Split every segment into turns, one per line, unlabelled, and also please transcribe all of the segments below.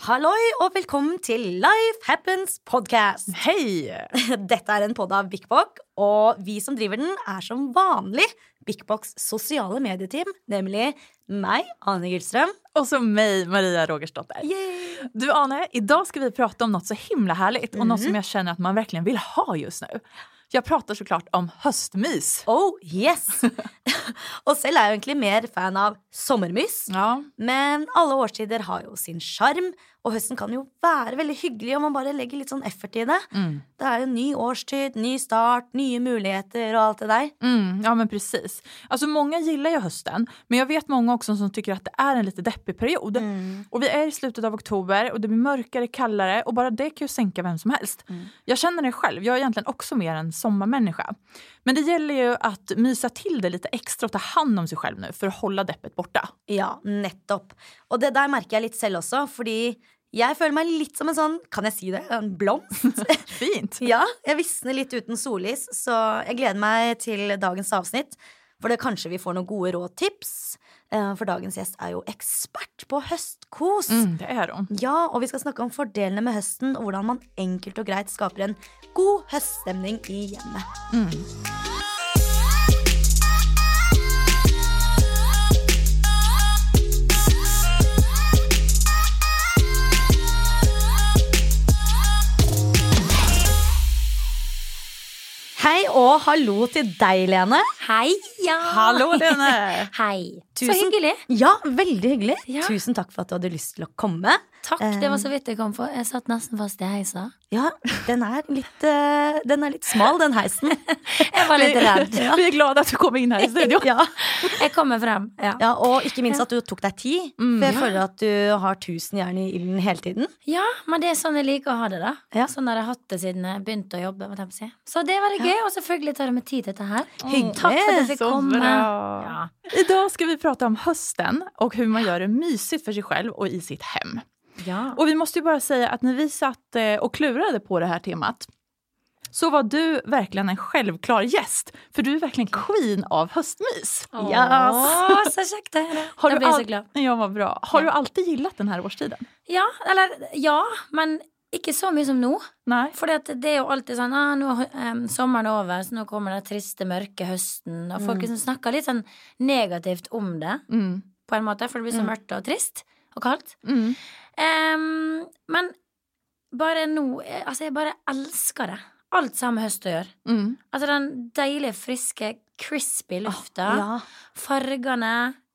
Halloi og velkommen til Life Happens podcast.
Hei!
Dette er en podd av BikBok, og vi som driver den, er som vanlig BikBoks sosiale medieteam, nemlig meg, Ane Gilstrøm.
Och så mig, Maria Rogersdotter. Du Ane, idag ska vi prata om något så himla härligt och något som jag känner att man verkligen vill ha just nu. Jag pratar såklart om höstmys.
Oh yes! og selv er jeg egentlig mer fan av sommermys.
Ja,
Men alle årstider har jo sin sjarm, og høsten kan jo være veldig hyggelig om man bare legger litt sånn effort i det. Det er jo ny årstid, ny start, nye muligheter og alt det der.
mm, ja men precis. Alltså många gillar ju hösten, men jag vet många också som tycker att det är en lite deppig period. Och vi är i slutet av oktober och det blir mörkare, kallare och bara det kan ju sänka vem som helst. Jag känner det själv, jag är egentligen också mer en sommarmänniska. Men det gäller ju att mysa till det lite extra och ta hand om sig själv nu för att hålla deppet borta.
Ja, nettopp. Og det der merker jeg litt selv også, fordi jeg føler meg litt som en sånn, kan jeg si det, en blomst.
Fint!
ja, jeg visner litt uten sollys, så jeg gleder meg til dagens avsnitt. For det kanskje vi får noen gode råd og tips, eh, for dagens gjest er jo ekspert på høstkos.
Mm, det är de.
Ja, og vi skal snakke om fordelene med høsten, og hvordan man enkelt og greit skaper en god høststemning i hjemmet. Hei og hallo til deg, Lene.
Hei, ja.
Hallå Lene!
Hei.
Tusen-
Så hyggelig.
Ja, veldig hyggelig.
Ja.
Tusen takk for at du hadde lyst til å komme.
Takk, det var så vidt jeg kom på. Jeg satt nesten fast i heisa.
Ja, den er litt, eh, den er litt smal, den heisen.
Jeg var litt redd.
Vi är glada att du kom in här i studion.
Ja.
Jeg kommer frem. Ja,
ja, Mm, Og ikke minst at du tok deg tid, for jeg føler at du har tusen jern i ilden hele tiden.
ja men det er sånn jeg liker å ha det, da.
Ja.
Sånn har jeg hatt det siden jeg begynte å jobbe. må jeg si. Så det var det gøy, og selvfølgelig tar det med tid, dette her.
Hyggelig.
Takk for at jeg fikk
Så
komme.
bra.
Ja.
Idag ska vi prata om hösten och hur man gör det mysigt för sig själv och i sitt hem.
ja.
Och vi måste ju bara säga att när vi satt eh, och klurade på det här temat så var du verkligen en självklar gäst, för du är verkligen queen av höstmys.
Åh, så kjekt å høre.
Har
Da
du
blir jeg
all-
så glad.
Ja, vad bra. Har du
Ja.
alltid gillat den här årstiden?
Ja, eller ja, men ikke så mye som nå.
Nej.
For det er jo alltid sånn ah, nå, em, Sommeren er over, så nå kommer den triste, mørke høsten. Og folk liksom snakker litt sånn negativt om det,
Mm.
på en måte, for det blir så mørkt og trist og kaldt.
Mm.
Em, men bare nå eh, Altså, jeg bare elsker det. Alt som har med høst å gjøre.
Mm.
Altså den deilige, friske, crispy lufta.
Ah, Ja,
Fargene.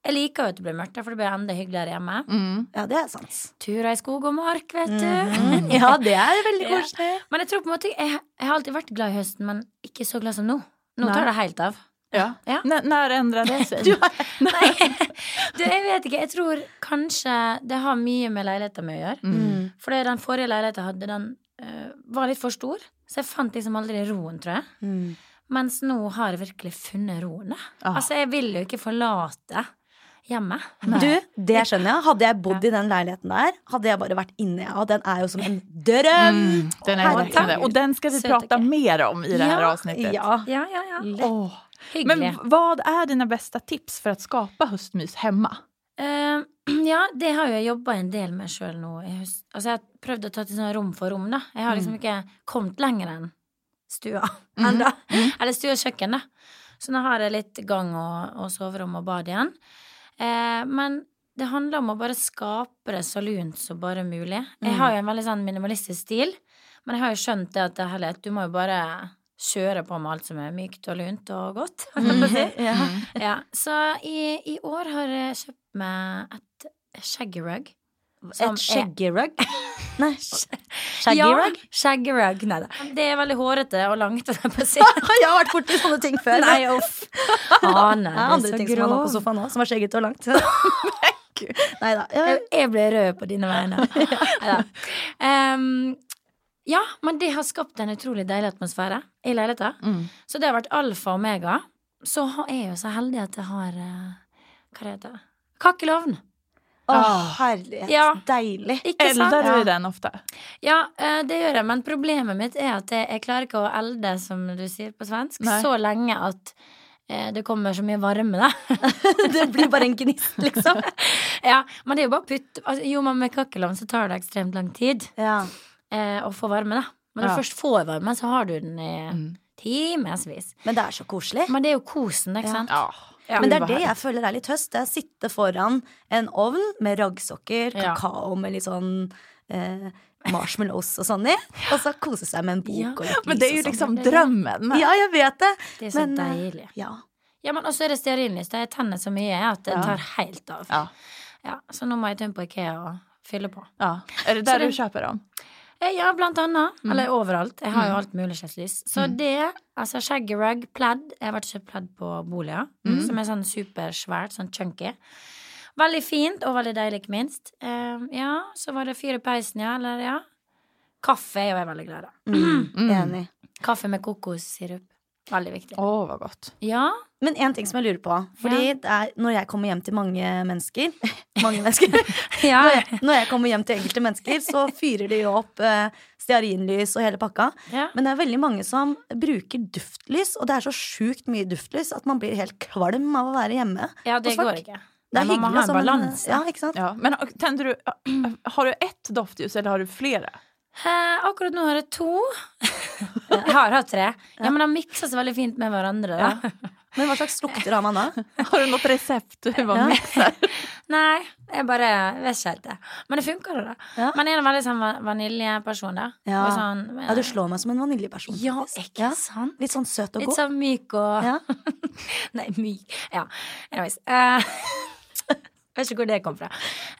Jeg liker jo at det blir mørkt, for det blir enda hyggeligere hjemme.
Mm.
ja det er sant. Mhm.
Turer i skog og mark, vet du.
Mm-hmm. Ja, det er veldig
Ja.
koselig.
Men jeg tror på en måte jeg, jeg har alltid vært glad i høsten, men ikke så glad som nå. Nå
Nei.
tar det helt av.
Ja.
Ja.
N- när ändrade det sig?
Nei, du, jeg vet ikke. Jeg tror kanskje det har mye med leiligheten min å gjøre.
Mm.
For det den forrige leiligheten jeg hadde, den eh, var litt for stor. Så jeg fant liksom aldri roen, tror jeg.
Mm.
Mens nå har jeg virkelig funnet roen. da.
Ah.
Altså, jeg vil jo ikke forlate hjemmet.
Mm. Du, det skjønner jeg. Hadde jeg bodd i den leiligheten der, hadde jeg bare vært inne. Ja, den er jo som en drøm!
Mm, den är
Herregud.
verkligen det. Och den ska vi
Söta
prata
grej.
mer om i det här
Ja,
avsnittet.
Ja.
Ja, ja, ja.
Åh. Men
Hyggelig.
v- vad är dina bästa tips för att skapa höstmys hemma?
Eh, ja, det har jo jeg jobba en del med sjøl nå. i høst. Altså, jeg har prøvd å ta til sånn rom for rom, da. Jeg har liksom ikke kommet lenger enn stua.
Mhm.
enda. Eller stue og kjøkken, da. Så nå har jeg litt gang og, og soverom og bad igjen. Eh, men det handler om å bare skape det så lunt som bare mulig. Jeg har jo en veldig sånn minimalistisk stil, men jeg har jo skjønt det at det er heller at du må jo bare kjøre på med alt som er mykt og lunt og godt.
Mm.
holdt jeg på å si.
Ja.
Ja, så i, i år har jeg kjøpt meg et skjeggerug. som
Et skjeggerug? Nei,
er-
shaggerug?
Ja, skjeggerug. Nei da. Det er veldig hårete og langt. holdt jeg på å si.
Jeg har vært borti sånne ting før.
Nei, uff. Ah,
Det er
nei, det
andre
er så
ting som man har på
grov.
sofaen òg, som er skjeggete og langt. Nei da. Ja,
Jeg, jeg ble rød på dine vegne. Neida. Em, ja, men det har skapt en utrolig deilig atmosfære i leiligheten. Så det har vært alfa og omega. Så ha- er jeg jo så heldig at jeg har eh, Hva heter det? Kakkelovn.
Å,
Ah.
herlighet.
Ja.
Deilig.
Ikke sant?
Eldar du
Ja.
i den ofta?
Ja, eh, det gjør jeg, men problemet mitt er at jeg, jeg klarer ikke å elde, som du sier på svensk,
Nei.
så lenge at eh, det kommer så mye varme, da.
det blir bare en gnist, liksom.
ja, men det er jo bare å putte altså, Jo, men med kakerlavn så tar det ekstremt lang tid
Ja.
eh, å få varme, da. Men når
Ja. Mm.
du først får varme, så har du den i timevis.
Men det er så koselig.
Men det er jo kosen, ikke sant?
Ja.
Men det er det jeg føler er litt høst. Det er å sitte foran en ovn med raggsokker,
Ja.
kakao med litt sånn eh, marshmallows og sånn i, og så kose seg med en bok og litt
Ja.
lys
Men det er jo
og sånn.
liksom
Det er det.
drømmen.
Ja, jeg vet det.
Det er så
Men, eh,
deilig.
Ja.
Ja, men også er det stearinlys. Jeg tenner så mye at det
Ja.
tar helt av.
Ja.
Ja, så nå må jeg tømme på Ikea og fylle på.
Ja. Er det
Så
der
det-
du kjøper dem?
Eh, Ja, blant annet. Eller overalt. Jeg har jo alt mulig slags lys. Så det, altså shaggerug, pledd Jeg har vært og kjøpt pledd på Bolia, som er sånn supersvært, sånn chunky. Veldig fint, og veldig deilig, ikke minst. Eh, ja, så var det fyr i peisen, ja. Eller, ja. Kaffe er jo jeg veldig glad i.
Mm,
Mm.
Enig.
Kaffe med kokossirup. Veldig viktig.
Å, hva godt.
Ja.
Men én ting som jeg lurer på. Fordi det er, når jeg kommer hjem til mange mennesker Mange mennesker
ja.
når, jeg, når jeg kommer hjem til enkelte mennesker, så fyrer de jo opp eh, stearinlys og hele pakka.
ja.
Men det er veldig mange som bruker duftlys, og det er så sjukt mye duftlys at man blir helt kvalm av å være hjemme.
Ja, det
Og svart.
går ikke.
Det er
Nei, man må
hyggelig,
ha en
altså, men-
balanse.
Ja, ikke sant?
Ja. Men tänder du, har du ett doftljus eller har du flere?
Eh, akkurat nå har jeg to. jeg har hatt tre. Ja, Men de mikser seg veldig fint med hverandre. Da.
Men hva slags lukter har man da?
Har du något recept? du var med?
Nei, jeg bare vet ikke helt det. Men det funker, da.
Ja.
Men jeg er en veldig sånn va- vaniljeperson, da.
Ja.
Og sånn,
Ja, du slår meg som en vaniljeperson.
Ja,
faktisk.
ikke
Ja.
sant?
Litt sånn søt og
Litt
god.
sånn myk og
Ja.
Nei, myk Ja, anyways. Eh, vet ikke hvor det kom fra.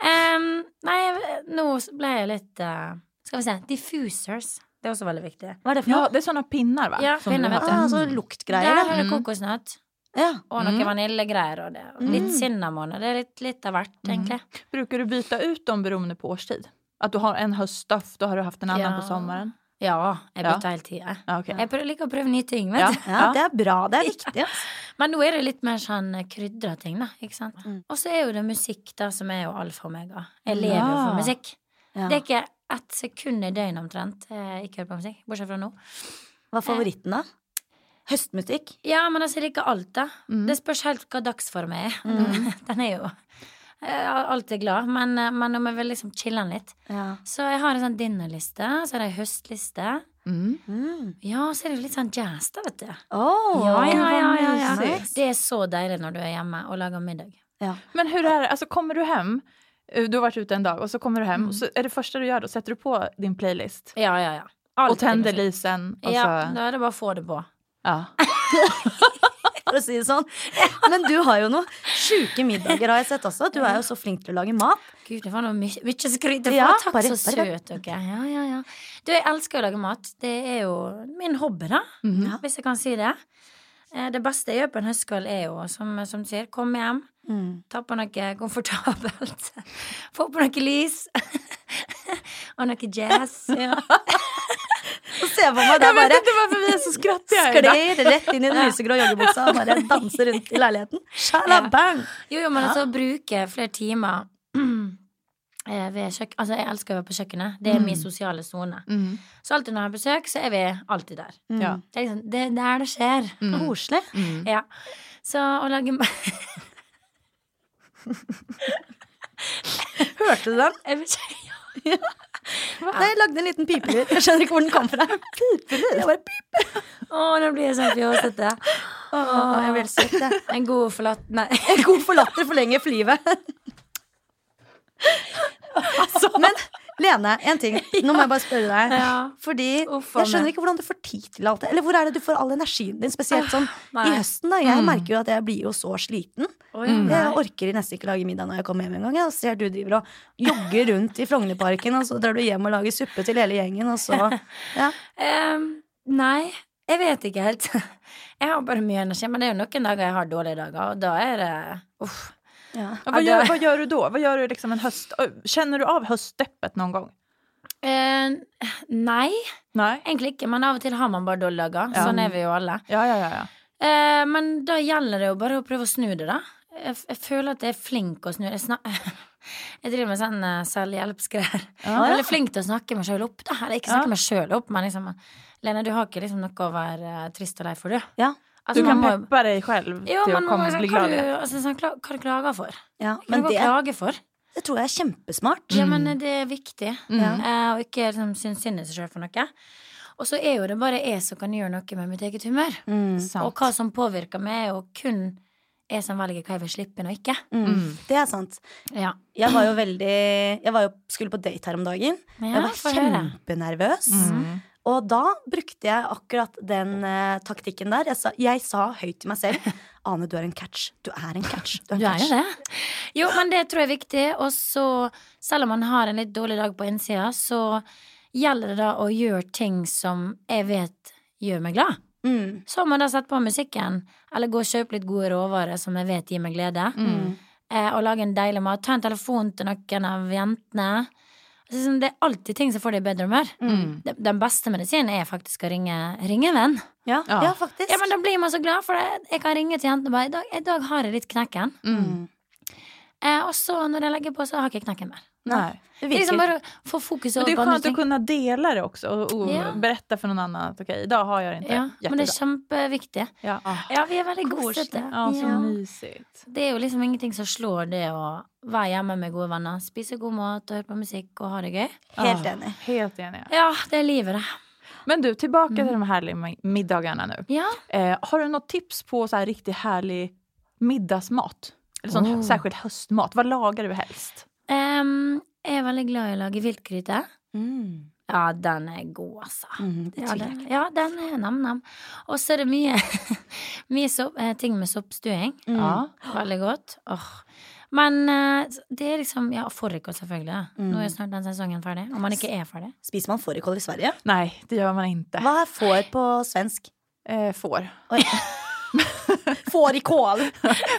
Em, nei, jeg- nå ble jeg litt eh, Skal vi se. Diffusers. Det er også veldig viktig.
Hva er det for
Ja,
noe?
det är såna pinnar va?
sånn- Ja,
Som du
pinnar,
har.
vet du.
Ah, så
Der
luktgreier,
har
da.
du kokosnøtt.
Ja.
Og noe
Mm.
vaniljegreier og det. Og Litt
Mm.
cinnamon. Og det er litt, litt av hvert, egentlig.
Brukar du byta ut dem beroende på årstid? Att du har en höstdoft, då har du haft en annan
Ja.
på sommaren?
Ja, jeg
Ja.
bytter hele tida.
Ja, okej.
Jeg prø- liker å prøve nye ting. vet du.
ja, det er bra. Det er viktig. ass.
Men nå er det litt mer sånn eh, krydra ting, da. Ikke sant?
Mm.
Og så er jo det musikk, da, som er jo alfa og omega. Jeg lever jo
Ja.
for musikk.
Ja.
Det er ikke ett sekund i døgnet omtrent eh, jeg ikke hører på musikk. Bortsett fra nå.
Hva er favoritten, da? Høstmusikk?
Ja, men altså, jeg liker alt, da.
Mm.
Det spørs helt hva dagsform er. Den er jo eh, alltid glad. Men, eh, men om jeg vil liksom chille den litt.
Ja.
Så jeg har en sånn dinnerliste, så har jeg en høstliste.
Mm.
Mm.
Ja, så er det jo litt sånn jazz, da, vet du.
Oh,
Ja, ja, ja, ja,
hva
ja.
mysigt.
Det er så deilig når du er hjemme og lager middag.
Ja.
Men hur är det, alltså kommer du hem, eh, du har varit ute en dag och så kommer du hem
Mm.
och så är det första du gör då, sätter du på din playlist
Ja, ja, liksom ja.
och tänder
musikk.
lysen och
Ja,
Altså-
så...
da er det bare å få det på.
Ja.
For å si det sånn. Men du har jo noen sjuke middager, har jeg sett også. Du er jo så flink til å lage mat.
Gud, det var noe my mye skryt.
Ja,
Ja, Takk,
bare-
så
bare-
søt dere Ja, ja, ja. Du, jeg elsker å lage mat. Det er jo min hobby, da.
Mhm.
Ja.
Hvis jeg kan si det. Eh, Det beste jeg gjør på en høstkveld, er jo, som, som du sier, komme hjem,
Mm.
ta på noe komfortabelt, få på noe lys, og noe jazz. Ja.
Og se på meg, det er
Jag vet
bare
inte varför vi är så skrattiga idag.
sklir rett inn i den lysegrå joggebuksa og bare danser rundt i leiligheten. Shalabang!
Jo, jo, men altså å bruke flere timer eh, ved kjøkken Altså, jeg elsker å være på kjøkkenet. Det er min sosiale sone.
Mm.
Så alltid når jeg har besøk, så er vi alltid der.
Ja.
Det er liksom, det, det er der det skjer.
Mm. Koselig.
Ja. Så å lage ma-
Hørte du den?
Jeg vet ikke.
Nei, jeg lagde en liten pipelyd. Jeg skjønner ikke hvor den kom fra. Pipelyd? Jeg bare pip.
Å, nå blir jeg sånn fjåsete.
Å, jeg blir søt, jeg.
En god forlatt Nei.
En god forlatter forlenger livet. Men Lene, en ting. Nå må jeg bare spørre deg.
Ja.
Fordi
Uff,
jeg
Anne.
skjønner ikke hvordan du får tid til alt det. Eller hvor er det du får all energien din, spesielt sånn i
nei.
høsten? da Jeg merker jo at jeg blir jo så sliten.
Å, ja,
Jeg
nei.
orker nesten ikke lage middag når jeg kommer hjem engang. Jeg og ser du driver og jogger rundt i Frognerparken, og så drar du hjem og lager suppe til hele gjengen, og så ja.
Em, nei, jeg vet ikke helt. Jeg har bare mye energi, men det er jo noen dager jeg har dårlige dager, og da er det uff.
ja.
Ja,
Ja,
vad, gör,
det-
vad gör du då? Vad gör du liksom en höst... Känner du av höstdeppet någon gång?
Eh, nei,
Nej?
egentlig ikke, men av og til har man bare dårlige dager.
Ja.
Sånn er vi jo alle.
Ja, ja, ja. ja.
Eh, men da gjelder det jo bare å prøve å snu det, da. Jeg, f- jeg føler at jeg er flink å snu det. Jeg, snak- jeg driver med sånn eh, selvhjelpsgreier. Jeg er veldig flink til å snakke meg sjøl opp. Da. Eller ikke
Ja.
snakke meg sjøl opp, men liksom Lene, du har ikke liksom noe å være eh, trist og lei for, du.
Ja.
Altså,
Du kan
man må jo-
peppa deg selv til
Jo,
å
men man
komme
må-
bli
hva
glad.
du- altså, sånn, kla- Hva du klager for?
Ja,
Hva
men
du
det,
klager for?
det tror jeg er kjempesmart.
Ja, men eh, det er viktig.
Mm.
Ja.
eh, og ikke liksom, synes synd i seg sjøl for noe. Og så er jo det bare jeg som kan gjøre noe med mitt eget humør.
Mm.
Sant.
Og hva som påvirker meg, er jo kun jeg som velger hva jeg vil slippe inn og ikke.
Mm. Det er sant.
Ja,
Jeg var jo veldig Jeg var jo, skulle på date her om dagen.
ja
Jeg var
få høre.
kjempenervøs.
Mm.
Og da brukte jeg akkurat den eh, taktikken der. Jeg sa, jeg sa høyt til meg selv Ane, du er en catch. Du er en catch. Du er en
Du er jo
catch.
det. Jo, men det tror jeg er viktig. Og så, selv om man har en litt dårlig dag på innsida, så gjelder det da å gjøre ting som jeg vet gjør meg glad.
Mm.
Så har man da sette på musikken, eller gå og kjøpe litt gode råvarer som jeg vet gir meg glede.
Mm.
Eh, og lage en deilig mat. Ta en telefon til noen av jentene. Altså, sånn, det er alltid ting som får deg i bedre humør.
Mm.
Den- Den beste medisinen er faktisk å ringe, ringe en venn.
Ja,
Ja.
ja, faktisk.
Ja, men Da blir man så glad, for det. jeg kan ringe til jentene og bare i dag, 'I dag har jeg litt knekken'.
Mm.
Mm.
Eh, og så når jeg legger på, så har ikke jeg knekken mer.
Nei.
Det
Det er
virker.
liksom bare å få fokuset
Men det är
over på
skönt
andre
att
ting.
kunna dela det också och, och
Ja.
berätta för någon annan att okej, idag har jag det inte.
Ja, men
Jättebra.
det er kjempeviktig.
ja. Ah,
Ja, vi er veldig
koselig.
kosete.
Ja, så
Ja.
mysigt.
Det er jo liksom ingenting som slår det å være hjemme med gode venner, spise god mat og høre på musikk og ha det gøy.
Helt
Ah,
enig.
Helt enig.
Ja, det er livet, det.
Men du, tillbaka till de härliga mi- middagarna nu.
Ja.
Eh, har du något tips på så här riktigt härlig middagsmat? Eller sån
Oh.
särskild höstmat. Vad lagar du helst?
Em, ehm, jeg er veldig glad i å lage viltgryte.
Mm.
Ja, den er god, altså.
Mm. Det
Ah. Ja,
tviler jeg
den, ja, den er nam-nam. Og så er det mye, mye sopp, eh, ting med soppstuing.
ikke. Mm.
Ja.
Veldig godt. Åh. Men eh, det er liksom Ja, fårikål, selvfølgelig.
Mm.
Nå er snart den sesongen ferdig. Om man ikke er ferdig.
Spiser man fårikål i Sverige?
Nej, det gör man inte.
Hva er får på svensk?
Eh, får.
Oi. Fårikål!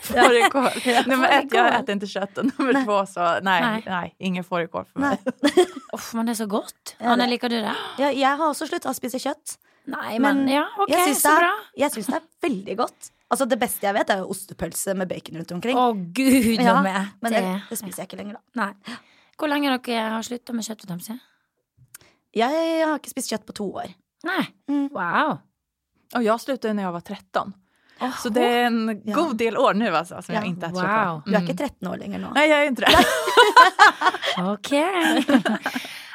Fårikål. Nummer ett, jag
Fårikål.
äter inte kött. Och Nummer två, så nej, nej.
Nej.
ingen fårikål för mig.
Nei.
Uff, men det er så godt.
Ja,
Anne,
det-
liker du det?
Ja, jeg har også slutta å spise kjøtt.
Nei,
Men
men, Ja, ok,
jeg syns
så
det,
bra.
er- jeg syns det er veldig godt. Altså Det beste jeg vet, er jo ostepølse med bacon rundt omkring.
Å, gud
Ja,
og meg.
Men
det,
det, det spiser jeg ikke lenger, da.
Nei. Hvor lenge har dere har slutta med kjøttpotemsi?
Jeg har ikke spist kjøtt på to år.
Nei.
Mm.
Wow.
Och jag slutade när jag var 13. Så det är en
Ja.
god del år nu alltså, som
Ja.
jag inte äter kött.
Wow.
Du er ikke 13 år lenger nå.
Mm. Nej, jag är inte det.
Ok.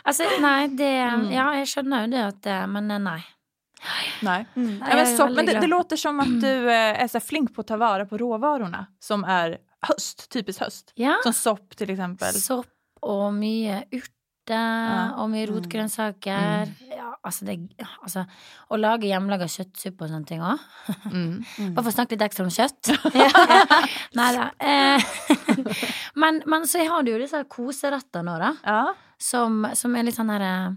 altså, nei, det
Mm.
Ja, jeg skjønner jo det at eh, Men eh, nei.
Nej.
Mm.
Nej, men
Nei, jeg er
så,
veldig
men det, det
glad.
låter som att du eh, är så här flink på att ta vara på råvarorna som är höst, typiskt höst.
Ja.
Som sopp till exempel.
Sopp og mye urter og mye
Mm.
rotgrønnsaker. Ja, altså det Altså, å lage hjemmelaga kjøttsuppe og sånne ting òg.
Mm.
Mm.
Bare for å snakke litt ekstra om kjøtt. ja. Nei da. Eh, men, men så har du jo disse her koseretter nå, da.
Ja.
Som, som er litt sånn herre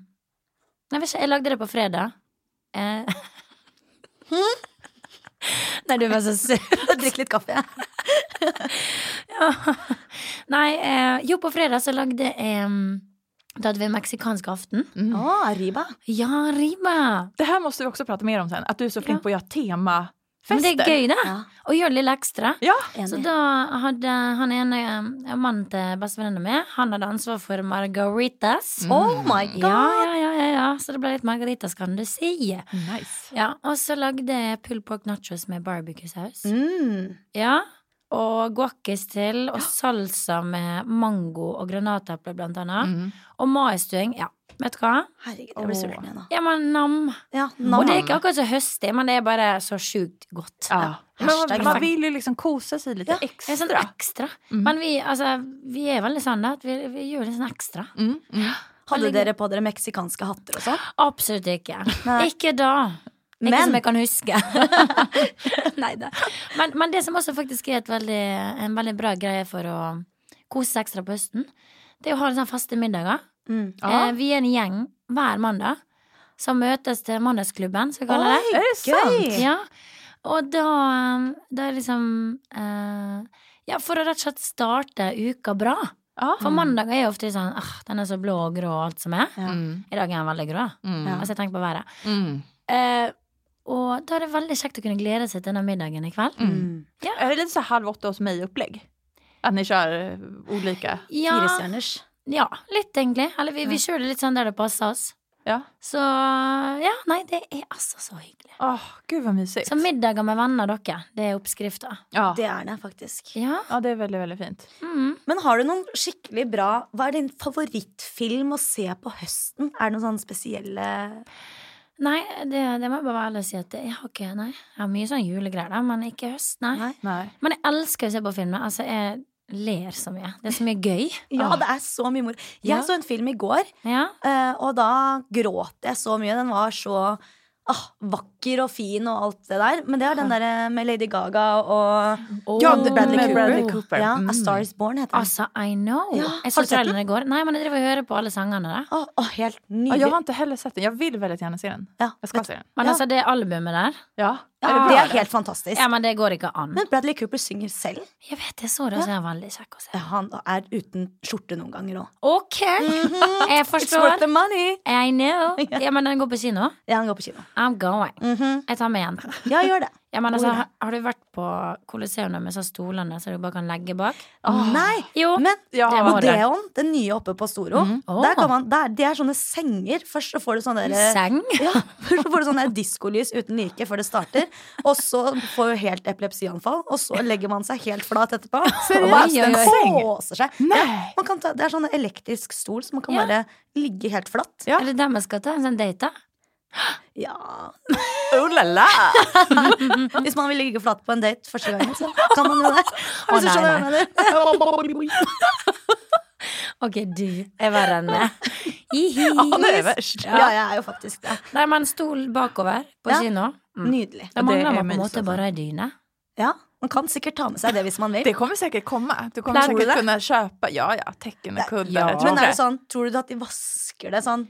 Jeg vet ikke, jeg lagde det på fredag. Eh. Nei, du var så søt.
Drikk litt kaffe.
Ja. Nei, eh, jo, på fredag så lagde jeg mm, Da hadde vi meksikansk aften.
Å,
Mm.
riba.
Ja, riba!
Det här måste vi också prata mer om sen, att du är så flink
Ja.
på att göra
Men det
temafester.
er gøy, det.
Ja,
Å gjøre det litt ekstra.
Ja,
Så
enig.
da hadde han ene eh, mannen til bestevenninna mi, han hadde ansvar for margaritas.
Mm.
Oh my god!
Ja, ja, ja, ja, ja. Så det ble litt margaritas, kan du si.
nice.
Ja, og så lagde jeg pulled pork nachos med barbecue-saus.
Mm.
Ja. Og guacis til, og salsa med mango og granateple, blant annet.
Mm.
Og maistuing. Ja, vet du hva?
Herregud, jeg blir
Åh.
sulten igjen nå. Mm.
Ja, men nam.
Ja,
Og
nam.
det er ikke akkurat så høstig, men det er bare så sjukt godt.
Ja. Men
Hashtag
man, man vill ju liksom kosa sig lite
Ja,
Det er sånn
extra.
ekstra.
Mm.
Men vi, altså, vi er veldig sånn da, at vi, vi gjør litt sånn ekstra.
Mm. Mm.
Hadde dere på dere meksikanske hatter og sånn?
Absolutt ikke.
Nei.
Ikke da. Ikke
Men-
som jeg kan huske. Neida. Men, men det som også faktisk er et veldig, en veldig bra greie for å kose seg ekstra på høsten, det er å ha sånne faste middager.
Mm.
Ja.
Eh, vi er en gjeng hver mandag som møtes til mandagsklubben, skal vi kalle det.
Oi,
Är det sant?
gøy!
Ja, og da, da er liksom eh, Ja, for å rett og slett starte uka bra.
Ja.
For mandag er jo ofte sånn ah, den er så blå og grå og alt som er.
Mm.
I dag er den veldig grå.
Mm.
Altså, jeg tenker på været.
Mm.
Eh, og da er det veldig kjekt å kunne glede seg til denne middagen i kveld.
Mm.
Mm.
Är det lite så här halv åtta hos mig-upplägg? Att ni kör eh, olika?
Ja,
Firestjerners.
ja litt egentlig. Eller vi, vi kjører det litt sånn der det passer oss.
Ja.
Så ja, nei, det er altså så hyggelig.
Åh, gud vad mysigt.
Så middager med venner, dere, det er oppskrifta.
ja.
Det er det faktisk.
Ja.
ja, det är väldigt, väldigt fint.
Mm.
Men har du noen skikkelig bra Hva er din favorittfilm å se på høsten? Er det noen sånne spesielle
Nei, det, det må jeg bare være ærlig og si at det- jeg har ikke Nei. Jeg har mye sånn julegreier, da, men ikke høst, nei.
Nei.
Nej.
Men jeg elsker å se på filmer. Altså, jeg ler så mye. Det er så mye gøy.
Ja,
Ah.
det er så mye moro. Jeg
Ja.
så en film i går,
Ja.
eh, og da gråt jeg så mye. Den var så ah, vakker og fin og alt det der. Men det er den derre med Lady Gaga og
Ah. Ja,
Åh.
det-
Bradley Cooper.
med Bradley Cooper.
ja,
Mm.
A Star Is Born, heter den.
Altså, I know.
Ja, har
Jeg
du
så
sett den?
traileren i går. Nei, men jeg driver og hører på alle sangene. Da.
Åh, åh, helt
Ah, Ja,
nydelig.
jag har inte heller sett den. Jag vill väldigt gärna se den.
Ja,
Jag ska
vet-
se den.
Men
Ja.
altså, det albumet der
Ja.
ja,
Är det
det
bra?
er helt fantastisk.
Ja, men det går ikke an.
Men Bradley Cooper synger selv.
Jeg vet, jeg så det, og så er jeg veldig kjekk å se.
Ja, Han er uten skjorte noen ganger òg.
OK!
Mhm.
Jeg
It's worth
forstår.
the money!
I know. Ja, men den går på kino.
Ja, han går på kino.
I'm going.
Mhm.
Jeg tar med en.
Ja, gjør det.
Ja, men altså,
Hvor da?
har- har du vært på Coliseum med så stolene så du bare kan legge bak?
Åh.
Nei,
Ah. Jo.
men
Ja.
Det var-
Odeon, den nye oppe på Storo,
Mhm.
Åh.
der kan man, der, det er sånne senger. Først så får du sånne der,
Seng?
Ja, så får du sånn der diskolys uten like før det starter. Og så får du helt epilepsianfall, og så legger man seg helt flat etterpå. Og bare
Oi, oi,
den
oi.
kåser seg.
Nej.
Man kan ta, det er sånn elektrisk stol, så man kan
Ja.
bare ligge helt flatt.
Ja.
Er det dem jeg skal ta? En sånn date? da?
Ja.
Oh la la!
Mhm.
Hvis man vil ligge flatt på en date første gangen, så kan man jo det.
Å,
Hvis du
nei,
skjønner hva jeg mener.
Ok, du er verre enn meg. Hihi.
Ja, det är värst.
Ja, jeg er jo faktisk det.
Nei, men stol bakover på
Ja.
kino. Mm.
Nydelig.
Da
det er
mangler man på en
mys,
måte
altså.
bare ei dyne.
Ja, man kan sikkert ta med seg det hvis man vil.
Det kommer säkert komma. Du kommer
Lär du
säkert
det?
kunna köpa, ja ja, tecken och kuddar.
Ja.
Jag tror
Men er
det.
det sånn, tror du at de vasker det sånn?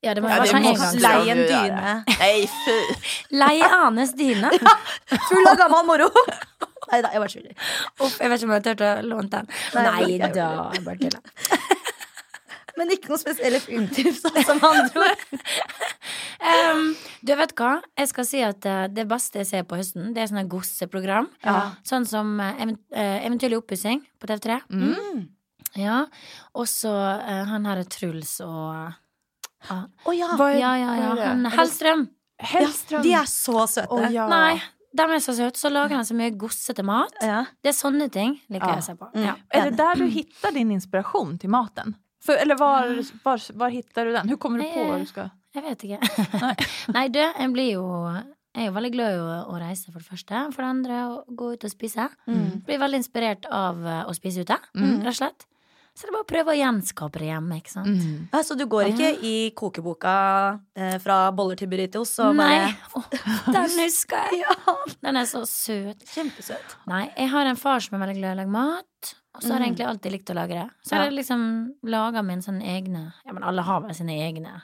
Ja, det må
Ja,
være
det
sånn
må-
en gang.
skal
Leie en
du gjøre.
dyne.
Nej fy!
Leie Anes dyne.
Full av gammel moro! Nei da, jeg bare tuller.
Uff, jeg vet ikke om jeg turte å låne den.
Nei,
Nei
jeg gjorde
da, jeg bare tuller.
Men ikke noen spesielle filmtips, da, som andre ord.
Em, du vet hva, jeg skal si at eh, det beste jeg ser på høsten, det er sånne gosseprogram.
Ja.
Sånn som eh, event eh, Eventyrlig oppussing på TV3.
Mm.
Ja. Og så eh, han her er Truls og
Å ja.
Vad är-
Ja, ja, ja.
vad är det?
Han
Är det
Hellstrøm.
ja.
Hellström?
De er så søte.
Åh, ja.
Nei, de er så søte. Så lager han så mye gossete mat.
Ja.
Det er sånne ting liker
Ja.
jeg å se på.
Mm.
Ja.
Är det där du hittar din inspiration till maten? För, eller
Mm.
var, var, var hittar du den? Hur kommer du på
Eh.
vad du ska...
Jeg vet ikke. Nei, du, jeg blir jo Jeg er jo veldig glad i å, å reise, for det første. For det andre å gå ut og spise.
Mm.
Blir veldig inspirert av eh, å spise ute,
Mm.
rett og slett. Så det er bare å prøve å gjenskape det hjemme, ikke sant.
Mm.
Ja, Så du går ikke i kokeboka eh, fra boller til burritos og
Nei,
bare
Å, den husker jeg! Den er så søt.
Kjempesøt.
Nei, jeg har en far som er veldig glad i å lage mat. Og så har jeg
Mm.
egentlig alltid likt å lage det. Så har
Ja.
jeg liksom laga mine sånne egne Ja, men alle har vel sine egne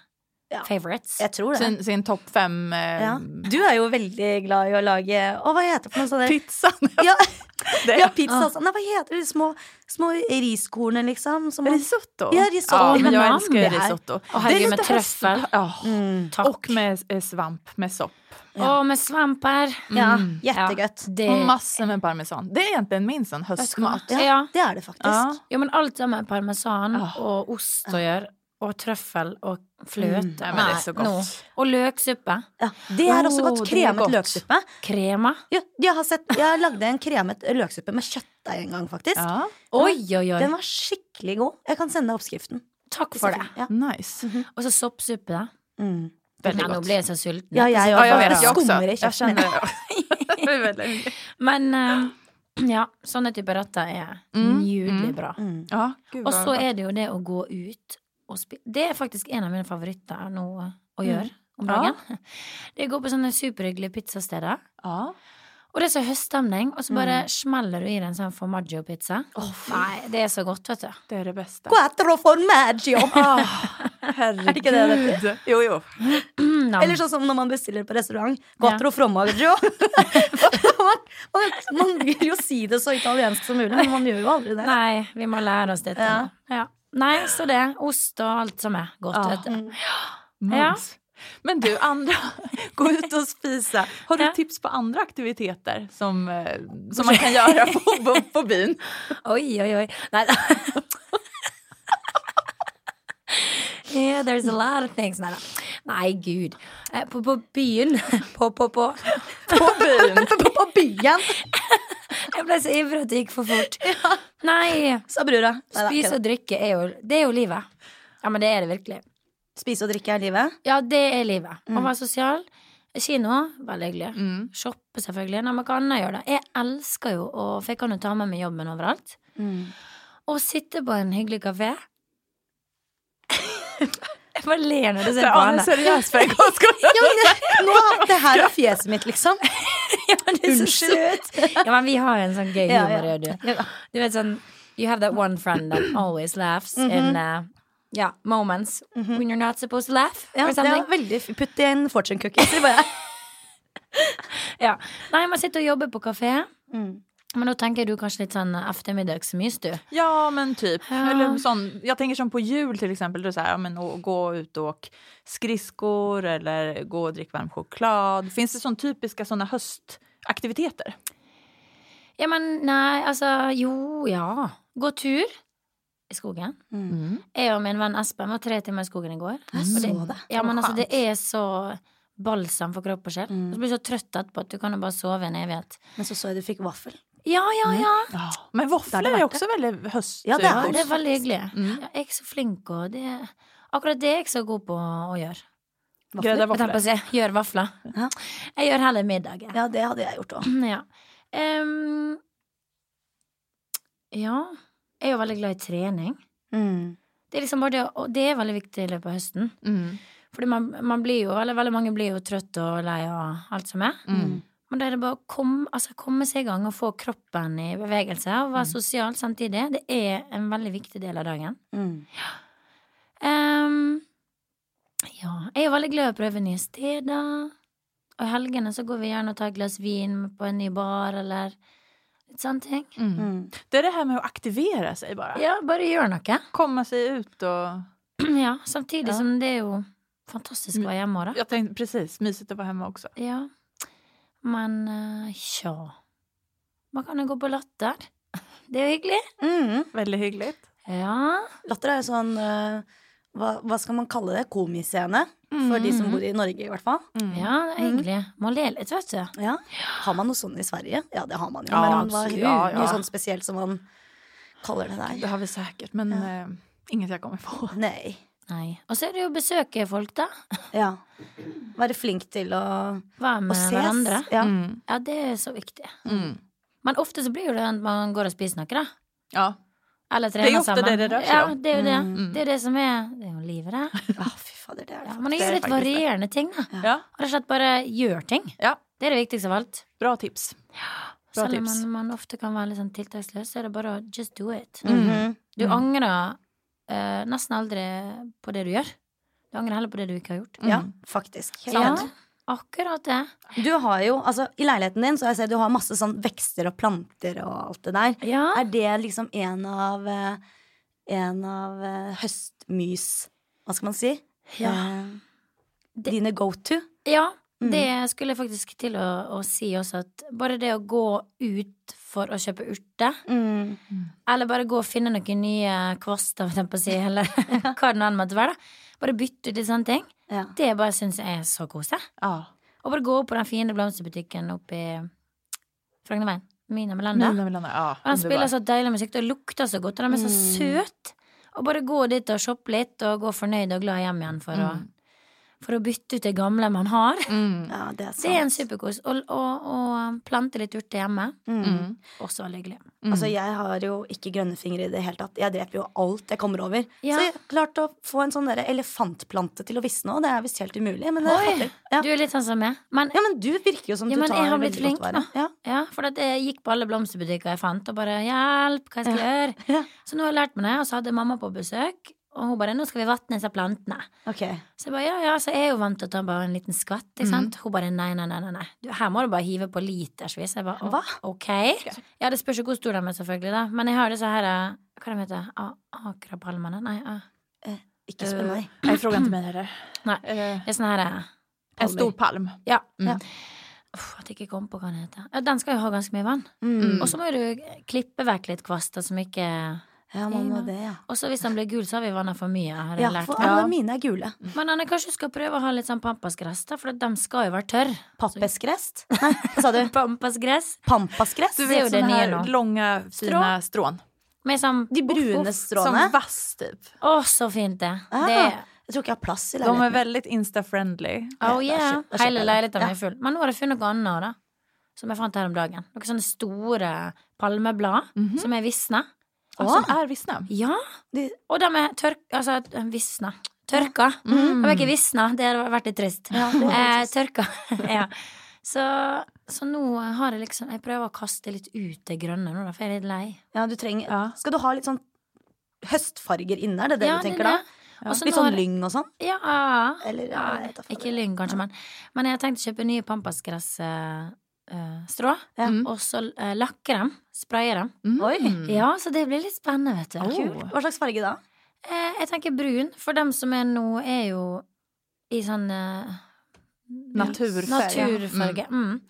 Ja.
favorites.
Jeg tror det.
Sin, sin topp fem... Eh,
Ja. Du er jo veldig glad i å lage Å, hva heter det for noe sånt? der?
Pizzan!
Ja,
Det-
ja, pizza også. Nei, hva heter de små, små riskornene, liksom? Som man...
Risotto?
Ja, risotto.
Ja, men jag
Nam,
älskar ju
det här.
risotto.
Åh, herregud,
Det är
med
lite höst-
tröffel.
Ja.
mm.
Takk.
Och med eh, svamp, med sopp.
Ja.
Og med svamper.
Ja,
Mm.
jettegøtt.
Det
Och massor med parmesan. Det är egentligen min sånn sån höstmat.
Ja,
Ja.
det er det faktisk.
Jo, men alt sammen med parmesan
Ah.
og ost å gjøre. Og trøffel og
Mm.
fløte.
Nej, men det är så
Nei,
gott.
nå. Og løksuppe.
Ja. Det er også
Åh,
godt.
det er
Kremet
godt.
løksuppe.
Krema.
Ja, jeg, har sett, jeg lagde en kremet løksuppe med kjøttdeig en gang, faktisk.
Ja,
Oi, oi, oi.
Den var skikkelig god. Jeg kan sende deg oppskriften.
Takk for det.
Ja.
nice.
Og så soppsuppe, da.
Mm.
Väldigt
Nei, nå
gott.
ble jeg så sulten.
Ja, jeg
Ja, jag
Det
vet, jag också.
skummer i
Jag
käften.
känner det. är väldigt-
Men eh, ja, sånne typer retter er
Mm,
nydelig
mm.
bra.
Mm.
Ja, gud
Og
vad
så er det jo det å gå ut og spise Det er faktisk en av mine favoritter nå å gjøre om
Ja.
dagen. Det går på sånne superhyggelige pizzasteder.
Ja.
Og det er så høststemning, og så bare smeller du i deg en sånn formaggio-pizza. Nei, det er så godt, vet du.
Det är det bästa.
Quattro formaggio!
Ah, herregud.
Är det inte det det
Jo, jo.
Nam.
Eller sånn som når man bestiller på restaurant. Quattro formaggio. man, man, man vil jo si det så italiensk som mulig, men man gjør jo aldri det.
Nei, vi må lære oss dette.
Ja.
nå. Ja. Nei, så det. Ost og alt som er godt,
Ja.
vet du.
Mums. Men du, andra, gå ut och spisa. Har du
Ja.
tips på andra aktiviteter som, eh, som man kan göra på, på, på byn?
Oi, oi, oi. Nei. Yeah, there's a lot of things. Nei da. Nei, gud. Eh, På, på byen På, på, på.
På byen.
På byen,
Jeg ble så ivrig at det gikk for fort. Nei.
sa brura. Neida,
Spise
kødda.
og drikke er jo Det er jo livet. Ja, men det er det virkelig.
Spise og drikke er livet.
Ja, det er livet. Å være sosial. Kino, veldig hyggelig.
Mm.
Shoppe, selvfølgelig. Nei, men hva annet gjør det? Jeg elsker jo å For jeg kan jo ta med meg jobben overalt.
Mm.
Å sitte på en hyggelig kafé. jeg bare ler når du
Det
ser
er
på
en
henne.
seriøs for en gangs skyld.
Ja, men det- nå, det her var fjeset mitt, liksom.
Ja, men du er så
Unnskyld.
søt. Ja, men vi har jo en sånn gøy
Ja,
humor,
ja.
gjør du. Du vet sånn You have that one friend that always laughs in uh, yeah, moments when you're not supposed to laugh.
Ja,
or
det
something.
var veldig f- Putt i en fortune cookie. Så det bare
Ja. Nei, man sitter og jobber på kafé.
Mm.
Men da tenker du kanskje litt sånn ettermiddagsmys, du.
Ja, men typ.
Ja.
Eller sån, jag tänker som på jul till exempel. Det är så här, ja, men, å- gå ut och åk skridskor eller gå och drick varm choklad. Finns det sån typiska såna höstaktiviteter?
Ja, men nei, altså Jo, ja. Gå tur i skogen. Jeg og min venn Espen var tre timer i skogen i går.
Jeg
Og
så det.
Ja, men
Skönt.
altså, det er så balsam for kropp og sjel.
Mm.
Du blir så trøtt etterpå at du kan jo bare sove i en evighet.
Men så så jeg du fikk vaffel.
Ja, ja, ja.
Ja. Men våfflor
Det har det
är
varit
också väldigt höst.
Ja, det är
Ja,
det.
det er veldig hyggelig.
Mm.
Ja, jeg er ikke så flink, og det Akkurat det er jeg ikke så god på å gjøre.
Grädda
Vaffel.
Jeg
våfflor.
tenker på å si gjør vafler.
Ja.
Jeg gjør heller middag. jeg.
Ja, det hadde jeg gjort òg.
Ja. Em, ja. Jeg er jo veldig glad i trening.
Mm.
Det er liksom bare det, og det er veldig viktig i løpet av høsten.
Mm.
Fordi man, man blir jo, eller veldig mange blir jo trøtt og lei og alt som er.
Mm.
Men da er det bare å komme, altså, komme seg i gang og få kroppen i bevegelse og være sosial samtidig. Det er en veldig viktig del av dagen.
Mm.
Em, ja, jeg er jo veldig glad i å prøve nye steder. Og i helgene så går vi gjerne og tar et glass vin på en ny bar, eller litt sånne ting.
Mm.
Mm.
Det är det här med att aktivera sig bara.
Ja, bare gjør noe.
Komma sig ut och...
Ja, samtidig
Ja.
som det er jo fantastisk å være hjemme òg, da.
Jag tänkte precis, mysigt att vara hemma också.
Ja. Men eh, tja. Man kan jo gå på latter. Det er jo hyggelig.
Mm.
Väldigt hyggligt.
Ja.
Latter er jo sånn eh, hva, hva skal man kalle det? Komiscene? For de som bor i Norge, i hvert fall.
Mm.
Ja, det er hyggelig. Man ler litt, vet du.
Ja. Har man noe sånn i Sverige? Ja, det har man jo.
Ja,
men hva-
absolutt.
ja,
Ja.
noe sånt spesielt som man kaller det
Det
der.
har vi säkert, men eh, inget jag kommer på.
Nei.
Nei. Og så er det jo å besøke folk, da.
Ja. Være flink til å,
Være
å
med
ses.
hverandre.
Ja.
Mm.
Ja, det er så viktig.
Mm.
Men ofte så blir jo det at man går og spiser noe, da.
Ja.
Eller
er
trener
ofte
sammen.
det det rører seg
ja,
om.
det er jo det.
Mm.
Det er jo det som er Det er jo livet, det.
Ja, fy fader, det er det.
Ja, man
faktisk.
gjør
faktisk
litt
det.
varierende ting, da.
ja.
Rett og slett bare gjør ting.
Ja.
Det er det viktigste av alt.
Bra tips. Bra
Selv om
tips.
man, man ofte kan være litt sånn tiltaksløs, så er det bare å just do it.
Mhm.
Du
Mm.
angrer eh, nesten aldri på det du gjør. Du angrer heller på det du ikke har gjort.
Ja, faktisk. Helt
Ja,
enig.
akkurat det.
Du har jo, altså I leiligheten din så har jeg sett du har masse sånn vekster og planter og alt det der.
Ja.
Er det liksom en av eh, En av eh, høstmys Hva skal man si?
Ja.
Eh,
Det-
Dine go to?
Ja,
Mm.
det skulle jeg faktisk til å, å si også, at bare det å gå ut for å kjøpe urter,
Mm.
eller bare gå og finne noen nye kvaster, for eksempel, å si, eller hva det nå enn måtte være, da. bare bytte ut litt sånne ting,
Ja.
det bare syns jeg er så koselig.
Ja.
Og bare gå opp på den fine blomsterbutikken oppe i Frognerveien, Mina Melanda.
Mina Melander, ja. Mm.
Og den spiller
underbar.
så deilig musikk, det lukter så godt, og den er så søt. Og bare gå dit og shoppe litt, og gå fornøyd og glad hjem igjen for,
Mm.
å, for å bytte ut det gamle man har.
Mm.
ja, det er sant.
Det er en superkos. Og, og, og plante litt urter hjemme.
Mm.
Mm.
Også veldig hyggelig.
Mm.
Altså, jeg har jo ikke grønne fingre i det hele tatt. Jeg dreper jo alt jeg kommer over.
Ja.
Så jeg klarte å få en sånn der elefantplante til å visne òg. Det er visst helt umulig. Men, jeg
Oi!
fatter. ja.
Du er litt sånn som meg. Men
ja, men du virker jo som
Ja,
du
men
tar
jeg har blitt
veldig
flink,
godt vare. Ja.
ja, for at jeg gikk på alle blomsterbutikker jeg fant, og bare 'hjelp, hva jeg skal gjøre'?
Ja.
Så nå har jeg lært meg det, og så hadde mamma på besøk, og hun bare 'nå skal vi vatne disse plantene'.
Ok.
Så jeg bare, ja, ja, så jeg er jo vant til å ta bare en liten skvatt. Ikke
Mhm.
sant? Hun bare nei, nei, nei. nei, nei. Du, her må du bare hive på litersvis. Jeg bare, «Å,
Hva?
Ok. Ja, det spørs jo hvor stor de er, selvfølgelig. da Men jeg har disse her eh, Hva de heter de? Akrapalmene? Nei. ah.
Ikke
Øh.
spør
Eh,
meg.
Nej, fråga inte mig heller.
Nej.
Eh,
Det er sånn her eh,
en stor palm.
Ja.
Mm.
Uff, at jeg ikke kom på hva den heter. Ja, den skal jo ha ganske mye vann.
Mm.
Og så må jo du klippe vekk litt kvaster som ikke
Ja, man må det, ja.
Og så hvis han blir gul, så har vi vanna for mye. Har jeg
Ja,
lært Mm.
for
meg.
alle mine er gule.
Men Anne, kanskje du skal prøve å ha litt sånn pampasgress, da, for de skal jo være tørre.
Pappeskrest? Nei, hva sa du?
Pampasgress
Pampaskrest?
Du
Det
vet-
är ju
Det är ju det
såna här
nya då.
långa fina strån.
med sånn
De brune
Uff, uff.
stråene?
Som vass typ.
Å, så fint det.
Ah,
det
Jeg tror ikke jeg har plass i
De är
leiligheten.
väldigt insta-friendly.
Ja, da
oh yeah.
kjøper- da kjøper
Hele
jeg det.
leiligheten min er full. Men nå har jeg funnet noe annet, da. Som jeg fant her om dagen. Noen sånne store palmeblad
Mhm.
som er visna.
Åh.
Som är vissna.
Ja.
De-
Og de er tørk... Altså, visna. Tørka.
Mm.
De er ikke visna, det hadde vært litt trist.
Ja, det er
Eh,
litt trist.
tørka. ja. Så, så nå har jeg liksom Jeg prøver å kaste litt ut det grønne nå, da, for jeg er litt lei.
ja, du trenger
Ja.
Skal du ha litt sånn høstfarger inne, er det det
Ja,
du tenker
det
da?
er det.
Ja.
Og så
Litt
nå har
sånn
jeg-
lyng og sånn?
Ja.
Eller ja, jeg vet da faen.
Ikke lyng, kanskje, men, men jeg har tenkt å kjøpe nye pampasgressstrå.
Ja.
Mm.
Og så eh, lakke dem. Spraye dem.
Mm.
Oi.
Ja, så det blir litt spennende, vet du.
Kult.
Hva slags farge da?
Eh, jeg tenker brun, for dem som er nå, er jo i sånn eh,
Naturfärg.
naturfarge. Mm.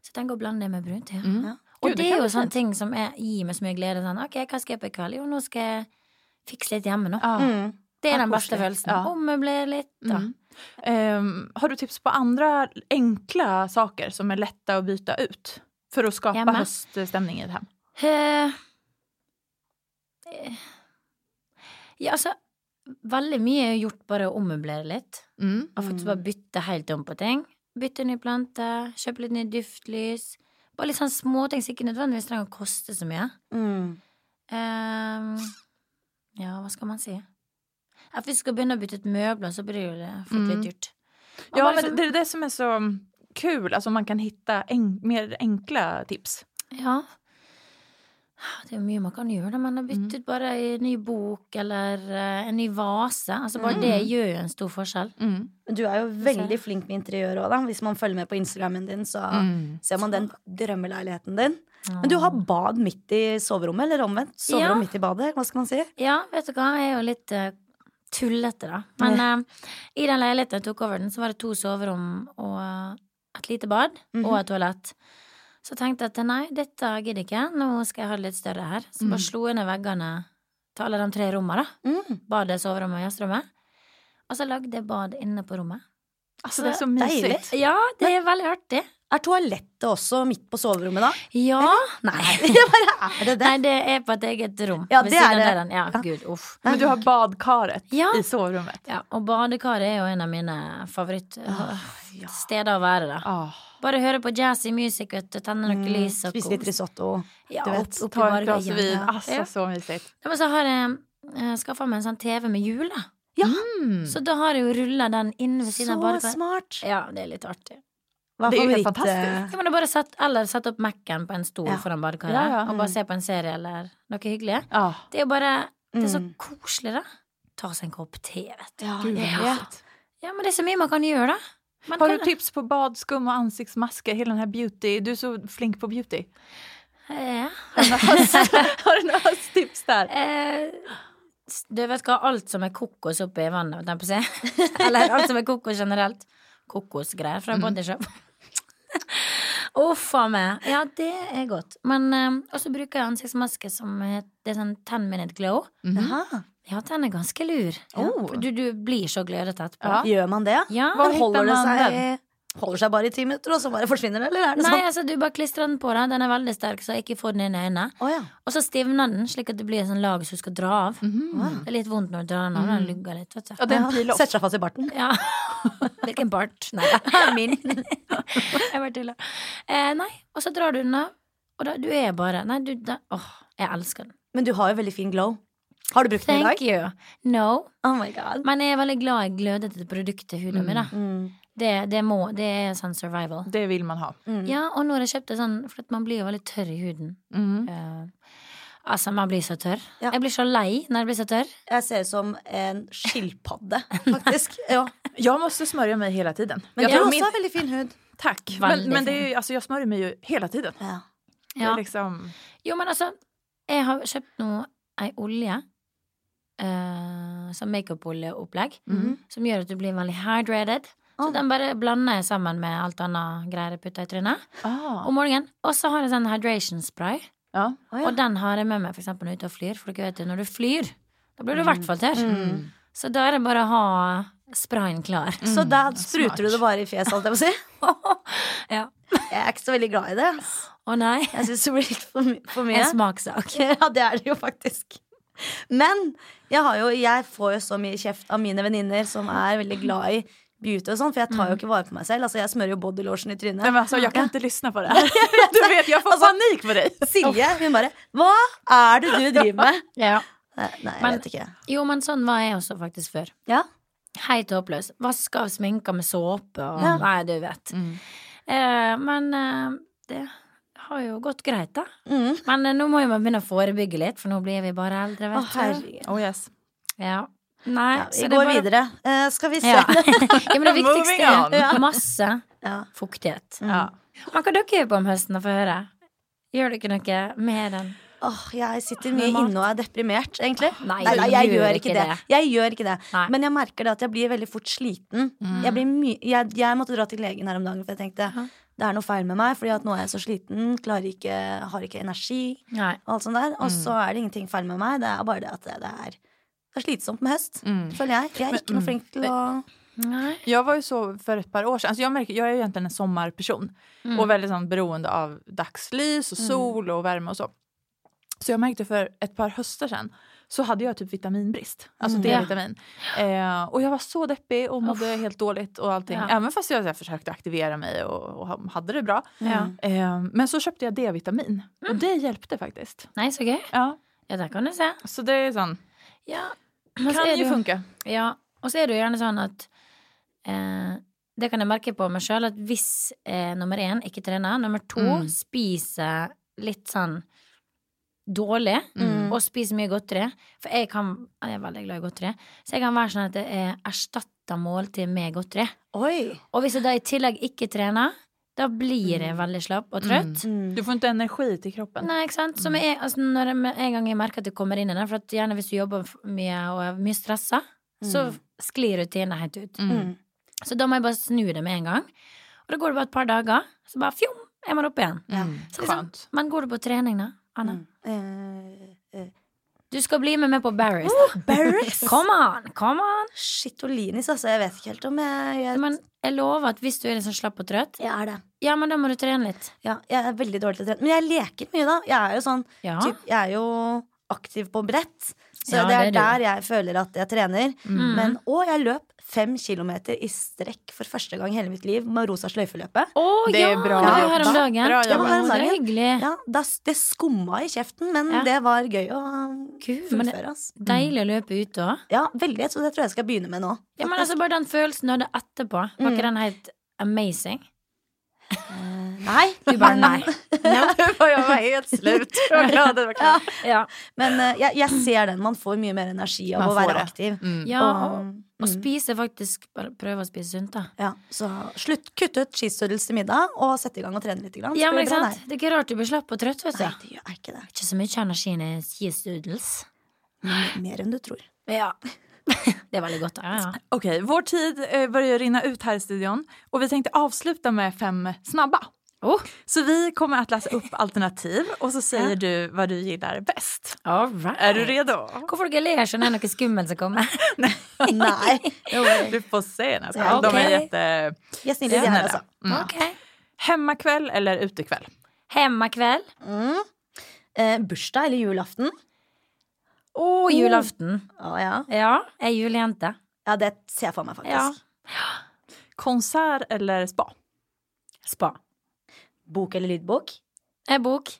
Så jeg tenker å blande det med brunt. Ja.
Mm.
Ja.
Og
Gud,
det
kan
er jo
bli
sånne
fint.
ting som er, gir meg så mye glede. Sånn, ok, hva skal jeg på i kveld? Jo, nå skal jeg fikse litt hjemme nå.
Ja.
Mm.
Det
ja,
er den beste
koselig.
følelsen.
Ja.
Ommøblere litt, da.
Mm. Ehm, har du tips på andra enkla saker som är lätta att byta ut? För att skapa
Hemma.
höststämning i ett hem.
Eh, eh, ja, altså Veldig mye er gjort bare å ommøblere litt.
Mm.
Og faktisk bare bytte helt om på ting. Bytte ny plante, kjøpe litt nye duftlys. Bare litt sånn småting som ikke nødvendigvis trenger å koste så mye.
Mm.
Ehm, ja, hva skal man si? At vi skal begynne å bytte ut møbler, så blir det jo det fort litt
Mm.
dyrt. Og
Ja,
bare
men
liksom-
det är det som är så kul. Alltså man kan hitta en, mer enkla tips.
Ja. Det er jo mye man kan gjøre, da, men å bytte ut bare en ny bok eller eh, en ny vase Altså Bare det gjør jo en stor forskjell.
Mm.
Men Du er jo veldig flink med interiør òg, da. Hvis man følger med på Instagrammen din, så
Mm.
ser man den drømmeleiligheten din. Men du har bad midt i soverommet, eller omvendt. Soverom
Ah. Ja.
midt i badet, hva skal man si?
Ja, vet du hva, jeg er jo litt eh, tullete, da. Men eh, i den leiligheten jeg tok over den, så var det to soverom og eh, et lite bad
Mhm.
og et toalett. Så tenkte jeg at nei, dette gidder jeg ikke, nå skal jeg ha det litt større her. Så
Mm.
bare slo jeg ned veggene til alle de tre rommene, da.
Mm.
Badet, soverommet og gjesterommet. Og så lagde jeg bad inne på rommet.
Alltså det är så
Deilig.
mysigt.
Ja, det er veldig artig.
Er toalettet også midt på soverommet, da?
Ja. Nei.
Det bare er det det.
Nei, det er på et eget rom.
Ja,
ved
det
siden
er
av
det.
døren. Ja,
Ja.
gud, uff.
Men du har badkaret
Ja.
i sovrummet.
Ja, og badekaret er jo en av mine favorittsteder å være, da.
Ah.
Bare høre på jazzy music, vet du. Tenne noen lys og
Mm, Spise litt risotto.
Ja,
du
opp,
vet.
opp i
Ta ett
barga.
glas
Ja,
vin.
ja.
Alltså
Ja.
så mysigt.
Ja, men så har jeg skaffa meg en sånn TV med hjul, da.
Mm.
Så da har jeg jo rulla den inn ved
Så
siden av badekaret.
smart!
Ja, det er litt artig.
Hva
Det er jo helt
favoritt,
fantastisk.
eh,
Ja, men da bare sett, eller sett opp Mac-en på en stol
Ja.
foran badekaret,
Ja, Mm. ja.
og bare se på en serie eller noe hyggelig.
Ah.
Det er jo bare Det er så
Mm.
koselig, da. Ta seg en kopp te, vet du.
Ja,
Gud,
ja.
vad
Ja.
mysigt.
Ja, men det er så mye man kan gjøre, da. Man
Har du
kan-
tips på badskum och ansiktsmasker? Hela den här beauty. Du är så flink på beauty.
Ja.
Har du några höst- Har du några hösttips där?
Eh, du vet hva, alt som er kokos oppi vannet, holdt jeg på å si. Eller alt som er kokos generelt. Kokosgreier
Mm.
fra Bodyshop. Uff a meg. Ja, det er godt. Men eh, også bruker jeg ansiktsmaske som het- det er sånn 10 minute glow. Mhm.
Jaha.
Ja, den er ganske lur.
Oh.
Du, du blir så glødet etterpå.
Ja.
Gjør man det?
Ja.
Var
Men holder det
hittar man
seg Holder seg bare i ti minutter, og så bare forsvinner det, eller er det
Nei,
sånn?
altså du bare klistrer den på deg. Den er veldig sterk, så jeg ikke får den inn i øynene.
Å ja.
Og så stivner den, slik at det blir en sånn lag som du skal dra av.
Mhm.
Det er litt vondt når du drar den av. Den lugger litt, vet
Mm. Ja,
du.
det är en pil off.
Setter seg fast i barten.
Ja. Hvilken part? Nei, min. jeg bare tuller. Eh, nei, og så drar du den av, og da, du er bare Nei, du da, Åh, jeg elsker den.
Men du har jo veldig fin glow. Har du brukt den i
Thank
dag?
you. No.
Oh my god.
Men jeg er veldig glad i glødete produkter til huden min, da.
Mm.
Det, det må Det er sånn survival.
Det vill man ha.
Mm.
Ja, og nå har jeg kjøpt det sånn, for at man blir jo veldig tørr i huden.
Mm.
Eh, altså, man blir så tørr.
Ja.
Jeg blir så lei når jeg blir så tørr.
Jeg ser ut som en skilpadde, faktisk. Ja.
Jag måste smörja mig hela tiden.
Men
jag
du
tror liksom.
også
min-
har veldig fin hud.
Tack. Men,
Väldigt
men det är
fin.
ju, alltså, jag smörjer mig ju hela tiden.
Ja.
Det är liksom...
Jo, men altså, jeg har kjøpt nå ei olje. Uh, som makeup-oljeopplegg.
Mhm.
Som gjør at du blir veldig hydrated. Så
Ah.
den bare blander jeg sammen med alt annet greier jeg putter i trynet.
Ah.
Om morgenen. Og så har jeg sånn hydration spray.
Ja.
Å, ja.
Og den har jeg med meg for eksempel når jeg er ute og flyr, for dere vet jo når du flyr, da blir du i
Mm.
hvert fall tørr. Så da er det bare å ha sprayen klar.
Så da
smart.
spruter du det bare i fjeset, holdt jeg på å si.
Ja.
Jeg er ikke så veldig glad i det. ass.
Å nei,
Jeg syns det blir litt for, my for mye.
en smakssak.
Ja, det er det jo faktisk. Men jeg, har jo, jeg får jo så mye kjeft av mine venninner som er veldig glad i beauty og sånn, for jeg tar
Mm.
jo ikke vare på meg selv. Altså, jeg smører jo bodylotion i
Nej,
trynet.
men alltså, jag kan inte lyssna på det här. Du vet, jag får panik på dig.
Silje, hun bare Hva er det du driver med? Nei, nei, jeg
Men-
vet ikke.
Jo, men sånn var jeg også faktisk før.
Ja.
Helt håpløs. Vaska av sminka med såpe og
Ja.
Nei, du vet.
Mm.
Eh, men eh, det har jo gått greit, da.
Mm.
Men eh, nå må jo man begynne å forebygge litt, for nå blir vi bare eldre,
Å,
vet du.
herregud.
Oh yes.
Ja. Nei,
Ja, vi
så det er
går
bare-
videre. Eh, skal vi se.
Ja. ja, men det
Moving
viktigste
on.
er ja, masse
Ja.
fuktighet.
Mm.
Ja.
Men hva dere gjør på om høsten, da, få høre? Gjør dere noe med den?
Åh, jeg sitter
Med
mye
mat.
inne og er deprimert, egentlig.
Nei,
Nei, nei, jeg gjør ikke det. Jeg gjør ikke det.
Nei. Mm.
Men jeg merker det at jeg blir veldig fort sliten. Jeg, blir my jeg, jeg måtte dra til legen her om dagen, for jeg tenkte
Ja.
det er noe feil med meg, Fordi at nå er jeg så sliten, klarer ikke, har ikke energi.
Nei.
Og alt sånt der
Mm.
Og så er det ingenting feil med meg, det er bare det at det, det, er, det er slitsomt med høst.
Mm.
Føler jeg. Jeg er ikke noe flink til å
Nei.
Jag var ju så för ett par år sedan. Alltså jag, märker, jag är ju egentligen en sommarperson
Mm.
och väldigt sån, beroende av dagsljus och sol och värme och så. Så jag märkte för ett par höster sedan så hade jag typ vitaminbrist, alltså
Mm.
D-vitamin. Eh, och jag var så deppig och mådde helt dåligt och allting.
Ja.
Även fast jag så här, försökte aktivera mig och, och ha- hade det bra.
Mm.
Ja.
Eh, men så köpte jag D-vitamin
Mm.
och det hjälpte faktiskt.
Nei, så gøy.
Ja,
Ja, der kan du se.
så det är sån,
Ja. Men så
kan
er
ju
det jo
funka.
Ja. Og så er det jo gjerne sånn at eh, Det kan jeg merke på meg sjøl, at hvis eh, nummer én ikke trener, nummer to
Mm.
spiser litt sånn dårlig,
Mm.
og spiser mye godteri For jeg, kan, jeg er veldig glad i godteri, så jeg kan være sånn at det er erstatta måltid med godteri.
Oi!
Og hvis jeg da i tillegg ikke trener, da blir jeg veldig slapp og trøtt.
Mm.
Du får inte energi til kroppen.
Nei, ikke sant? Så med en, altså når jeg, med en gang jeg merker at jeg kommer inn i den, for at gjerne hvis du jobber f- mye og er mye stressa, så
Mm.
sklir rutinene helt ut.
Mm.
Mm.
Så da må jeg bare snu det med en gang. Og da går det bare et par dager, så bare fjom, er man oppe igjen.
Mm.
Så liksom-
Skönt.
Men går du på trening, da, Anna?
Mm. Eh, eh,
Du skal bli med meg på Barry's, da.
Barry's?
Come on! Come on!
Shitolinis, altså. Jeg vet ikke helt om jeg, jeg,
Men jeg lover at hvis du er litt sånn slapp og trøtt,
jeg er det.
ja, men da må du trene litt.
Ja, jeg er veldig dårlig til å trene. Men jeg leker mye, da. Jeg er jo sånn
Ja.
typ, Jeg er jo aktiv på brett. Så
Ja,
det er
det er du.
der jeg føler at jeg trener.
Mm.
Men, og jeg løp fem kilometer i strekk for første gang i hele mitt liv med rosa sløyfeløpet.
Å
Det
ja!
er bra
det var jo her om
jobba.
dagen. altså,
Bra
Det var
jobba.
her om dagen. Det er hyggelig.
Ja, da, det skumma i kjeften, men
Ja.
det var gøy å
Gud, men det
fullføre. ass.
er deilig å løpe ut da.
Ja, veldig. Så det tror jeg jeg skal begynne med nå.
Ja, men altså Bare den følelsen du hadde etterpå, var ikke den helt amazing?
Eh, Nei.
Du bare nei.
Nu var jag var helt slut. Jag var glad att det var klart.
Ja,
Men eh, jeg, jeg ser den. Man får mye mer energi av
Man
å
får
være
det.
aktiv.
Mm.
ja og, og
mm.
spise faktisk Bare prøve å spise sunt, da.
Ja, så slutt, kutt ut cheesedoodles til middag og sette i gang og trene litt. Grann.
Ja, men
det
ikke sant? Det er ikke rart du blir slapp og trøtt, vet
Nei,
du.
det gjør er ikke det.
Ikke så mye energi i cheese doodles.
Men Mer enn du tror.
Ja. Det er veldig godt, da. Ja, ja.
Okej, vår tid eh, börjar rinna ut här i studion och vi tänkte avsluta med fem snabba.
Oh.
Så vi kommer att läsa upp alternativ och så säger du vad du gillar bäst.
All right.
Är du redo?
Hvorfor dere ler sånn? Er det noe skummelt som kommer?
Nei.
Du får se nästa
Ja,
De är
okej.
jätte...
Vi er snille, de her, altså.
Mm.
Ok.
Hemmakväll eller utekväll?
Hemmakveld
Mm. Eh, bursdag eller julaften?
og julaften.
Å ja.
Ja, jeg er julejente.
ja, det ser jeg for meg
Ja.
faktisk.
Konsert eller spa?
Spa.
Bok eller lydbok?
E-bok.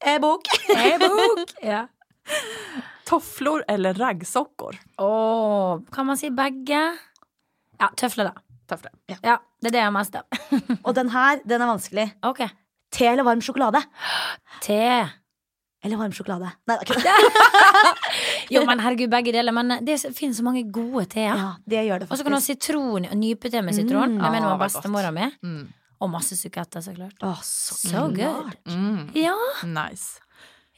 E-bok.
E-bok! Ja.
Tofflor eller raggsockor?
Åh, kan man si begge? Ja, tøfler, da.
Tofflor.
Ja, det er det jeg har mest av.
Og den her, den er vanskelig.
Ok.
Te eller varm sjokolade?
Te.
Eller varm sjokolade. Nei, det er ikke det.
Jo, men herregud, begge deler. Men eh, det finnes så mange gode teer.
Ja, det gjør det
Og så kan du ha
faktisk.
sitron. Nypete med sitron.
Mm.
Det mener
Ja,
var
det var
bestemora mi.
Mm.
Og masse suketter, så klart.
Å, så
So good.
klart.
Mm.
Ja.
Nice.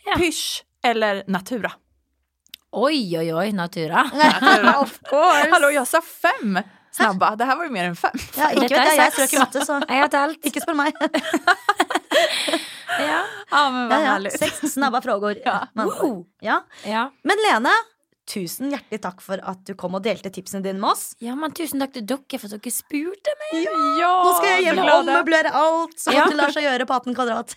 Ja.
Pysch eller natura?
Oi, oi, oi, Natura.
of course.
Hallå, jag sa fem snabba. Det här var ju mer än fem.
Ja, ikke
Dette
vet
er
jeg, jeg
sex.
strøk i matte, så
Jeg har telt.
ikke spør meg.
Ja.
Ja, men vad
ja, ja.
härligt.
Sex snabba frågor.
Ja.
Man får. Ja.
ja.
Men Lene, tusen hjertelig takk for at du kom og delte tipsene dine med oss.
Ja, men tusen takk til dere for at dere spurte meg.
Ja,
Nå skal jeg hjem og
så glada.
ommøblere alt som
Ja.
det lar seg gjøre på 18 kvadrat.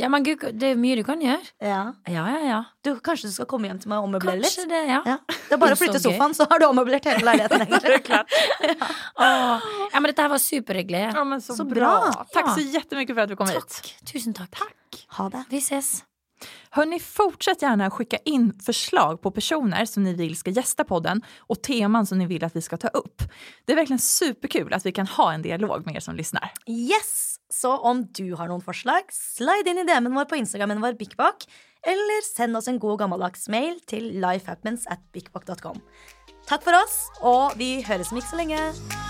Ja, men gud, det er mye du kan gjøre.
ja.
Ja, ja, ja.
du, kanskje du skal komme hjem til meg og ommøblere litt?
Kanskje det, ja.
Ja. Det er bare å
Så
flytte
gøy.
sofaen, så har du ommøblert hele leiligheten. egentlig.
Åh. ja men dette her var superhyggelig.
Ja, men så,
Så
bra.
bra.
Tack
Ja.
så jättemycket för att du kom hit.
Takk. Tusen takk.
Ha det.
Vi ses.
Hörni, fortsätt gärna skicka in förslag på personer som ni vill ska gästa podden och teman som ni vill att vi ska ta upp. Det är verkligen superkul att vi kan ha en dialog med er som lyssnar.
Yes! Så om du har noen forslag, slide inn i DM-en vår på Instagrammen vår BikBak, eller send oss en god gammeldags mail til lifehappens at bikbak.com. Takk for oss, og vi høres om ikke så lenge.